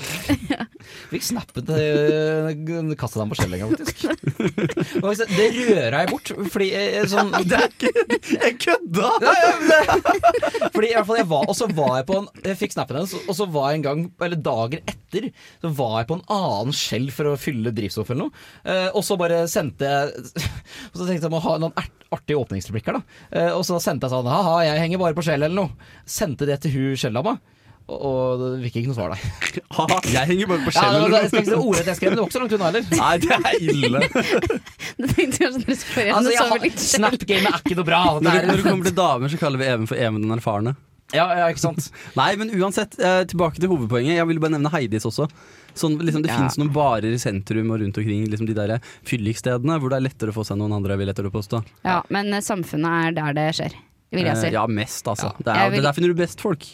Speaker 4: fikk snappet uh, kasta dem på Kjell en gang, faktisk. Og hvis det- Det røra jeg bort, fordi eh, sånn det er ikke,
Speaker 5: Jeg kødda!
Speaker 4: ja, ja, men det, Fordi i hvert fall jeg var Og så var jeg på en Jeg fikk snappen hennes, og så var jeg en gang, eller dagen etter, så var jeg på en annen skjell for å fylle drivstoff eller noe. Eh, og så bare sendte jeg Og så tenkte jeg må ha noen ert, artige åpningsreplikker, da. Eh, og så sendte jeg sånn ha-ha, jeg henger bare på skjell eller noe. Sendte det til hun skjelldama, og, og det fikk ikke noe svar, nei.
Speaker 5: Haha, jeg henger bare på
Speaker 4: Ja, det
Speaker 3: altså,
Speaker 5: skjellet.
Speaker 4: var, jeg skal ikke si ordet jeg skrev, men det var ikke så langt unna heller.
Speaker 5: Nei, det er ille.
Speaker 3: Det tenkte jeg kanskje dere skulle gjøre.
Speaker 4: Altså,
Speaker 3: men
Speaker 4: jeg
Speaker 3: så var det
Speaker 4: har-
Speaker 3: litt selv.
Speaker 4: Snap-gamet er ikke noe bra. Det
Speaker 5: Når,
Speaker 4: er,
Speaker 5: du- når det kommer til damer, så kaller vi Even for Even den erfarne.
Speaker 4: ja, ja, ikke sant.
Speaker 5: Nei, men uansett, eh, tilbake til hovedpoenget. Jeg ville bare nevne Heidis også. Sånn, liksom, det
Speaker 3: Ja.
Speaker 5: finnes noen barer i sentrum og rundt omkring, liksom de der fyllikstedene, hvor det er lettere å få seg noen andre, vil jeg lettere påstå.
Speaker 3: Ja, men eh, samfunnet er der det skjer, vil jeg
Speaker 5: Eh,
Speaker 3: si.
Speaker 5: Ja, mest, altså. Det
Speaker 3: Jeg
Speaker 5: er,
Speaker 3: vil-
Speaker 5: Der finner du best folk.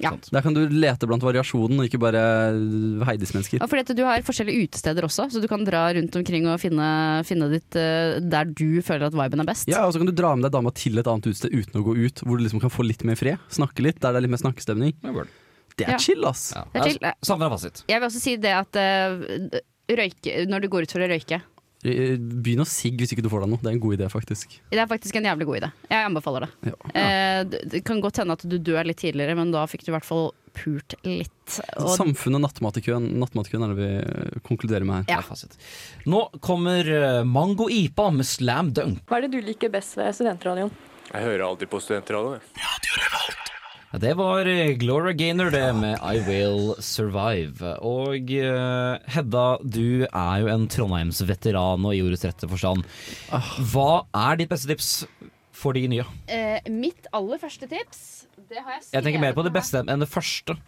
Speaker 3: Ja.
Speaker 5: Der kan du lete blant variasjonen, og ikke bare eh, Heidis-mennesker.
Speaker 3: Og fordi at Du har forskjellige utesteder også, så du kan dra rundt omkring og finne, finne ditt eh, der du føler at viben er best.
Speaker 5: Ja, og så kan du dra med deg dama til et annet utested uten å gå ut, hvor du liksom kan få litt mer fred. Snakke litt, der det er litt mer snakkestemning. Det er
Speaker 3: Ja.
Speaker 5: chill, ass.
Speaker 4: Ja.
Speaker 3: Det er chill, det.
Speaker 4: Savner fasit.
Speaker 3: Jeg vil også si det at eh, røyke, når du går ut for å røyke
Speaker 5: Eh, Begynn å sigge hvis ikke du får deg noe. Det er en god idé, faktisk.
Speaker 3: Det er faktisk en jævlig god idé. Jeg anbefaler det.
Speaker 5: Ja.
Speaker 3: Eh, det- det kan godt hende at du dør litt tidligere, men da fikk du i hvert fall pult litt. Og
Speaker 5: Samfunnet og nattmatkøen, nattmatkøen er det vi eh, konkluderer med her.
Speaker 3: Ja.
Speaker 4: Det er fasit. Nå kommer eh, Mango Ipa med Slam Dunk.
Speaker 7: Hva er det du liker best ved studentradioen?
Speaker 8: Jeg hører alltid på studentradioen. jeg.
Speaker 4: Ja, Det var eh, Gloria Gaynor det med I Will Survive. Og eh, Hedda, du er jo en Trondheims-veteran og i ordets rette forstand.
Speaker 5: Ah.
Speaker 4: Hva er ditt beste tips for de nye?
Speaker 3: Eh, mitt aller første tips Det har jeg skrevet
Speaker 4: Jeg tenker mer på det
Speaker 3: her.
Speaker 4: beste enn det første.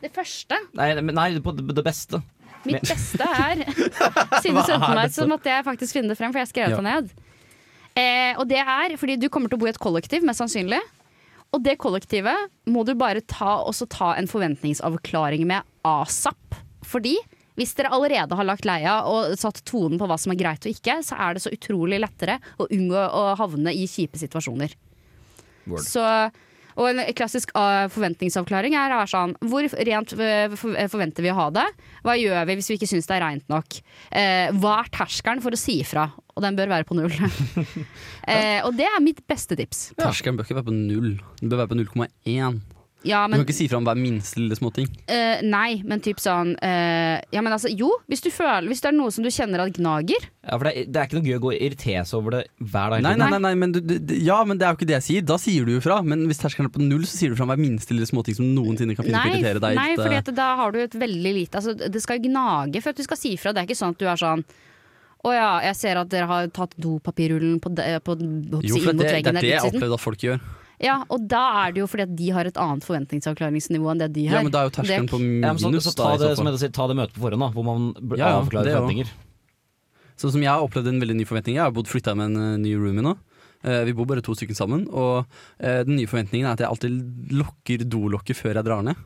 Speaker 3: Det første.
Speaker 4: Nei, men- nei på det det beste.
Speaker 3: Mitt beste er Siden du sendte meg, så måtte jeg faktisk finne det frem, for jeg skrev det ned. Eh, og det er fordi du kommer til å bo i et kollektiv, mest sannsynlig. Og det kollektivet må du bare ta, også ta en forventningsavklaring med asap. Fordi hvis dere allerede har lagt leia og satt tonen på hva som er greit og ikke, så er det så utrolig lettere å unngå å havne i kjipe situasjoner.
Speaker 4: Word.
Speaker 3: Så, og en klassisk ah, forventningsavklaring er, er sånn Hvor rent eh, for- eh, forventer vi å ha det? Hva gjør vi hvis vi ikke syns det er rent nok? Eh, hva er terskelen for å si ifra? Og den bør være på null. eh, og det er mitt beste tips.
Speaker 5: Terskelen bør ikke være på null. Den bør være på 0,1.
Speaker 3: Ja,
Speaker 5: Du kan
Speaker 3: men
Speaker 5: ikke si fra om hver minste lille småting.
Speaker 3: Eh, nei, men typ sånn eh, Ja, men altså, jo, hvis du føler Hvis det er noe som du kjenner at gnager
Speaker 4: Ja, for det, er- det er ikke noe gøy å gå og irritere seg over det hver dag.
Speaker 5: Nei,
Speaker 4: liksom.
Speaker 5: nei, nei, nei men du, du- ja, men det er jo ikke det jeg sier. Da sier du jo fra. Men hvis terskelen er på null, så sier du fra om hver minste lille småting som noensinne kan finne på å
Speaker 3: Nei,
Speaker 5: irritere deg.
Speaker 3: nei
Speaker 5: litt,
Speaker 3: fordi
Speaker 5: eh.
Speaker 3: at da har du et veldig lite altså, Det skal gnage for at du skal si ifra. Det er ikke sånn at du er sånn Å ja, jeg ser at dere har tatt dopapirrullen på, de, på, på
Speaker 5: jo, for
Speaker 3: inn mot
Speaker 5: det, det er
Speaker 3: veggen der
Speaker 5: det jeg har
Speaker 3: utsiden.
Speaker 5: opplevd at folk gjør.
Speaker 3: Ja, og da er det jo fordi at de har et annet forventningsavklaringsnivå enn det de
Speaker 5: Ja,
Speaker 3: har.
Speaker 5: men da er jo terskelen
Speaker 3: Det-
Speaker 5: på
Speaker 4: Ja, men så,
Speaker 5: minus,
Speaker 4: så
Speaker 5: da,
Speaker 4: ta,
Speaker 5: i
Speaker 4: det,
Speaker 5: så
Speaker 4: som
Speaker 5: fall.
Speaker 4: Hedda sier, ta det møtet på forhånd, da, hvor man bl-
Speaker 5: Ja, ja,
Speaker 4: avklarer
Speaker 5: det også.
Speaker 4: forventninger.
Speaker 5: Sånn som jeg har opplevd en veldig ny forventning. Jeg har bodd flytta med en eh, ny roomie nå. Eh, vi bor bare to stykker sammen. Og eh, den nye forventningen er at jeg alltid lokker dolokket før jeg drar ned.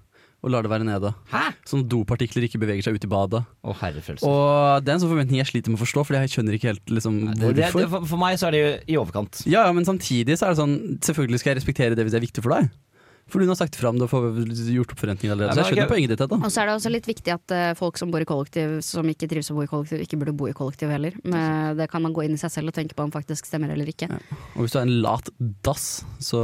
Speaker 5: Og lar det være nede.
Speaker 4: Hæ?
Speaker 5: Sånn at dopartikler ikke beveger seg ut i badet.
Speaker 4: Å, herrefrelser.
Speaker 5: Og det er en sånn forventning jeg sliter med å forstå, Fordi jeg skjønner ikke helt liksom,
Speaker 4: Det,
Speaker 5: hvorfor.
Speaker 4: det, det, for, for meg så er det i overkant.
Speaker 5: Ja, ja, men samtidig så er det sånn Selvfølgelig skal jeg respektere det hvis det er viktig for deg. For hun har sagt fra om det og får gjort opp forventninger allerede.
Speaker 4: Ja,
Speaker 5: Så jeg skjønner
Speaker 4: men ok.
Speaker 5: poenget ditt. Hedda.
Speaker 3: Og så er det også litt viktig at eh, folk som bor i kollektiv, som ikke trives å bo i kollektiv, ikke burde bo i kollektiv heller. Men eh, det kan man gå inn i seg selv og tenke på om faktisk stemmer eller ikke.
Speaker 5: Og hvis du er en lat dass, så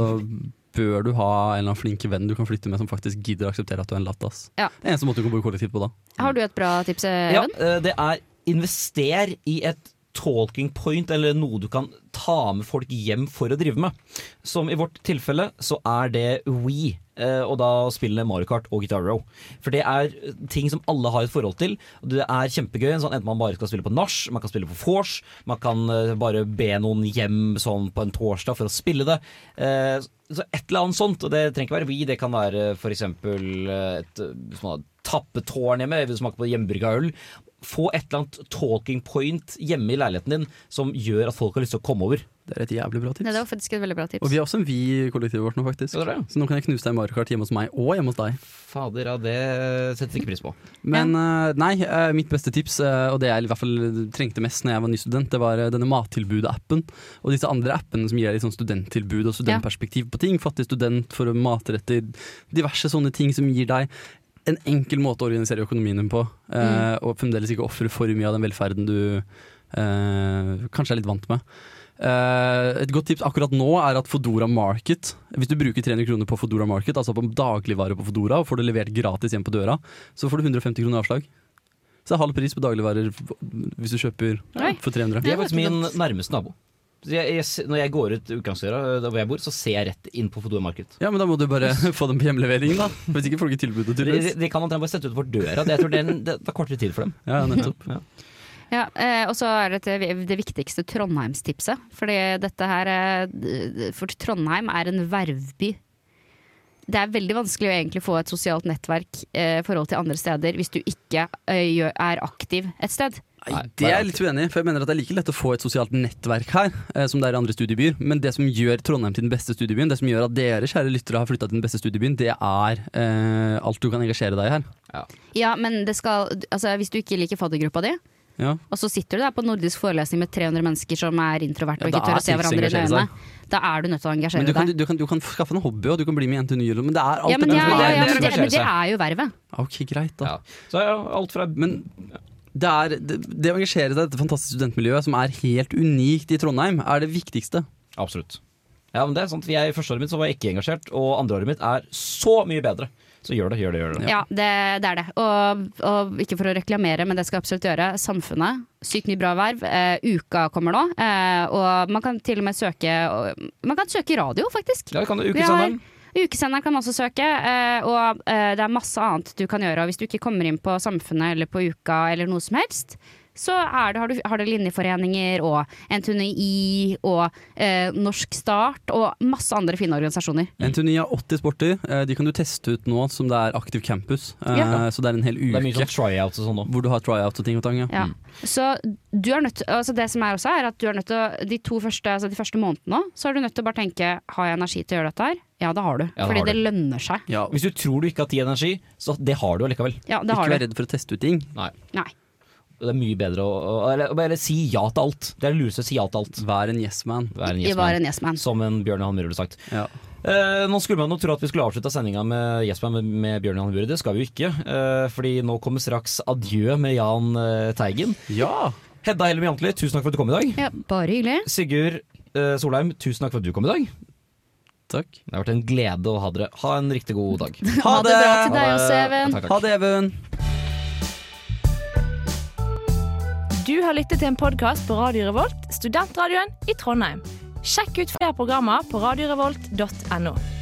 Speaker 5: bør du ha en eller annen flink venn du kan flytte med som faktisk gidder å akseptere at du er en lat dass.
Speaker 3: Ja.
Speaker 5: Det er eneste måte du kan bo i kollektiv på da.
Speaker 3: Har du et bra tips,
Speaker 4: Ja,
Speaker 3: Even?
Speaker 4: eh, det er invester i et talking point, eller noe du kan ta med folk hjem for å drive med. Som i vårt tilfelle så er det We, eh, og da spillene Mario Kart og Guitar Row. For det er ting som alle har et forhold til. og Det er kjempegøy. Sånn, enten man bare skal spille på nach, man kan spille på vors, man kan eh, bare be noen hjem sånn på en torsdag for å spille det. Eh, Så et eller annet sånt, og det trenger ikke være We, det kan være for eksempel eh, et eh, hvis man har tappetårn hjemme, vil smake på hjemmebrygga øl. Få et eller annet talking point hjemme i leiligheten din som gjør at folk har lyst til å komme over.
Speaker 5: Det er et jævlig bra tips.
Speaker 3: Nei, det var faktisk et veldig bra tips.
Speaker 5: Og vi har også en vi i kollektivet vårt nå, faktisk.
Speaker 4: Ja, det er det.
Speaker 5: Så nå kan jeg knuse deg i Mario Kart hjemme hos meg og hjemme hos deg.
Speaker 4: Fader, ja, det setter ikke pris på.
Speaker 5: Men eh, nei, eh, mitt beste tips, eh, og det jeg i hvert fall trengte mest når jeg var ny student, det var eh, denne mattilbudet-appen. Og disse andre appene som gir deg litt sånn studenttilbud og studentperspektiv på ting. Fattig student for matretter, diverse sånne ting som gir deg en enkel måte å organisere økonomien din på, eh, og fremdeles ikke ofre for mye av den velferden du eh, kanskje er litt vant med. Eh, et godt tips akkurat nå er at Fodora Market Hvis du bruker 300 kroner på Fodora Market, altså på dagligvarer på Fodora, og får det levert gratis hjem på døra, så får du 150 kroner avslag. Så det er halv pris på dagligvarer hvis du kjøper
Speaker 3: Oi.
Speaker 5: for 300.
Speaker 4: Det
Speaker 3: Ja,
Speaker 4: er faktisk
Speaker 3: vet du
Speaker 4: min
Speaker 3: godt.
Speaker 4: nærmeste nabo. Så Jeg, jeg, se- når jeg går ut utgangsdøra eh, der hvor jeg bor, så ser jeg rett inn på Fodor Marked.
Speaker 5: Ja, men da må du bare få dem på hjemlevering, da. Hvis ikke får du ikke tilbudet,
Speaker 4: De, de,
Speaker 5: tydeligvis.
Speaker 4: de kan omtrent bare sette utenfor døra. Det, jeg tror det, er en- det tar kortere tid for dem.
Speaker 5: Ja, nettopp.
Speaker 3: Ja, eh, og så er dette det viktigste Trondheimstipset. Fordi dette her eh, For Trondheim er en vervby. Det er veldig vanskelig å egentlig få et sosialt nettverk eh, i forhold til andre steder hvis du ikke eh, gjør- er aktiv et sted.
Speaker 5: Nei, det er jeg litt uenig i, for jeg mener at det er like lett å få et sosialt nettverk her eh, som det er i andre studiebyer, men det som gjør Trondheim til den beste studiebyen, det som gjør at dere, kjære lyttere, har flytta til den beste studiebyen, det er eh, alt du kan engasjere deg i her.
Speaker 3: Ja, men det skal Altså, hvis du ikke liker faddergruppa di,
Speaker 5: Ja.
Speaker 3: og så sitter du der på nordisk forelesning med 300 mennesker som er introverte og
Speaker 5: Ja, da
Speaker 3: ikke tør
Speaker 5: er
Speaker 3: å se
Speaker 5: tips å
Speaker 3: hverandre i
Speaker 5: engasjere
Speaker 3: øynene,
Speaker 5: seg.
Speaker 3: da er du nødt til å engasjere
Speaker 5: Men du kan,
Speaker 3: deg.
Speaker 5: du, kan, du kan skaffe en hobby, og du kan bli med i NTNU, eller- men det er alt
Speaker 3: ja, men,
Speaker 5: det
Speaker 3: ja,
Speaker 5: som
Speaker 3: ja,
Speaker 5: er det.
Speaker 3: ja, men, det, men det er jo vervet.
Speaker 5: Ok, greit, da.
Speaker 4: Ja. Så ja, alt fra
Speaker 5: Men det, er, det, det å engasjere seg i dette fantastiske studentmiljøet, som er helt unikt i Trondheim, er det viktigste.
Speaker 4: Absolutt. Ja, men det er sant. Jeg, første året mitt så var jeg ikke engasjert, og andre året mitt er så mye bedre. Så gjør det, gjør det, gjør det.
Speaker 3: Ja, det, det er det. Og, og ikke for å reklamere, men det skal jeg absolutt gjøre. Samfunnet. Sykt mye bra verv. Eh, uka kommer nå. Eh, og man kan til og med søke Man kan søke radio, faktisk.
Speaker 4: Ja, vi kan det.
Speaker 3: Vi har-
Speaker 4: Ukesenderen.
Speaker 3: Ukesenderen kan man også søke, eh, og eh, det er masse annet du kan gjøre. Og hvis du ikke kommer inn på Samfunnet eller på Uka eller noe som helst, så er det, har, du, har det linjeforeninger og NTNUI og eh, Norsk Start og masse andre fine organisasjoner.
Speaker 4: Mm.
Speaker 5: NTNU har 80 sporter. eh, De kan du teste ut nå som det er aktiv campus. eh,
Speaker 3: Ja.
Speaker 5: Så det er en hel
Speaker 4: Det
Speaker 5: uke
Speaker 4: er mye sånn tryouts og sånn nå.
Speaker 5: hvor du har tryouts og ting og tang. Ja.
Speaker 3: Ja. Så du er nødt altså Det som er også er at du er nødt til å De to første, altså de første månedene også, Så er du nødt til å bare tenke Har jeg energi til å gjøre dette her? Ja, det har du
Speaker 4: det
Speaker 3: Fordi
Speaker 4: har
Speaker 3: det lønner seg
Speaker 5: Ja,
Speaker 4: Hvis du tror du ikke har tid og energi, så det har du allikevel.
Speaker 3: Ja, det
Speaker 5: ikke
Speaker 3: har
Speaker 5: vær
Speaker 3: du
Speaker 5: redd for å teste ut ting.
Speaker 4: Nei.
Speaker 3: Nei
Speaker 4: Det er mye bedre å, å eller, eller si ja til alt. Det er det lureste. Si ja til alt.
Speaker 5: Vær en yes man.
Speaker 4: Vær en
Speaker 3: Ikke
Speaker 4: yes
Speaker 3: var
Speaker 4: man.
Speaker 3: en yes man
Speaker 4: Som en Bjørn Johan Myhre ville sagt.
Speaker 5: Ja.
Speaker 4: Eh, nå skulle man jo tro at vi skulle avslutta sendinga med Yes Man med, med Bjørn Johan Myhre. Det skal vi jo ikke. eh, fordi nå kommer straks adjø med Jahn eh, Teigen.
Speaker 5: ja.
Speaker 4: Hedda Hellem Jantli, tusen takk for at du kom i dag.
Speaker 3: ja, Bare hyggelig
Speaker 4: Sigurd eh, Solheim, tusen takk for at du kom i dag.
Speaker 5: Takk.
Speaker 4: Det har vært en glede å ha dere. Ha en riktig god dag.
Speaker 5: Ha
Speaker 3: det bra til deg også, Even
Speaker 4: Takk, takk.
Speaker 5: Ha det, Even.
Speaker 9: Du har lyttet til en podkast på Radio Revolt, studentradioen i Trondheim. Sjekk ut flere programmer på radiorevolt.no.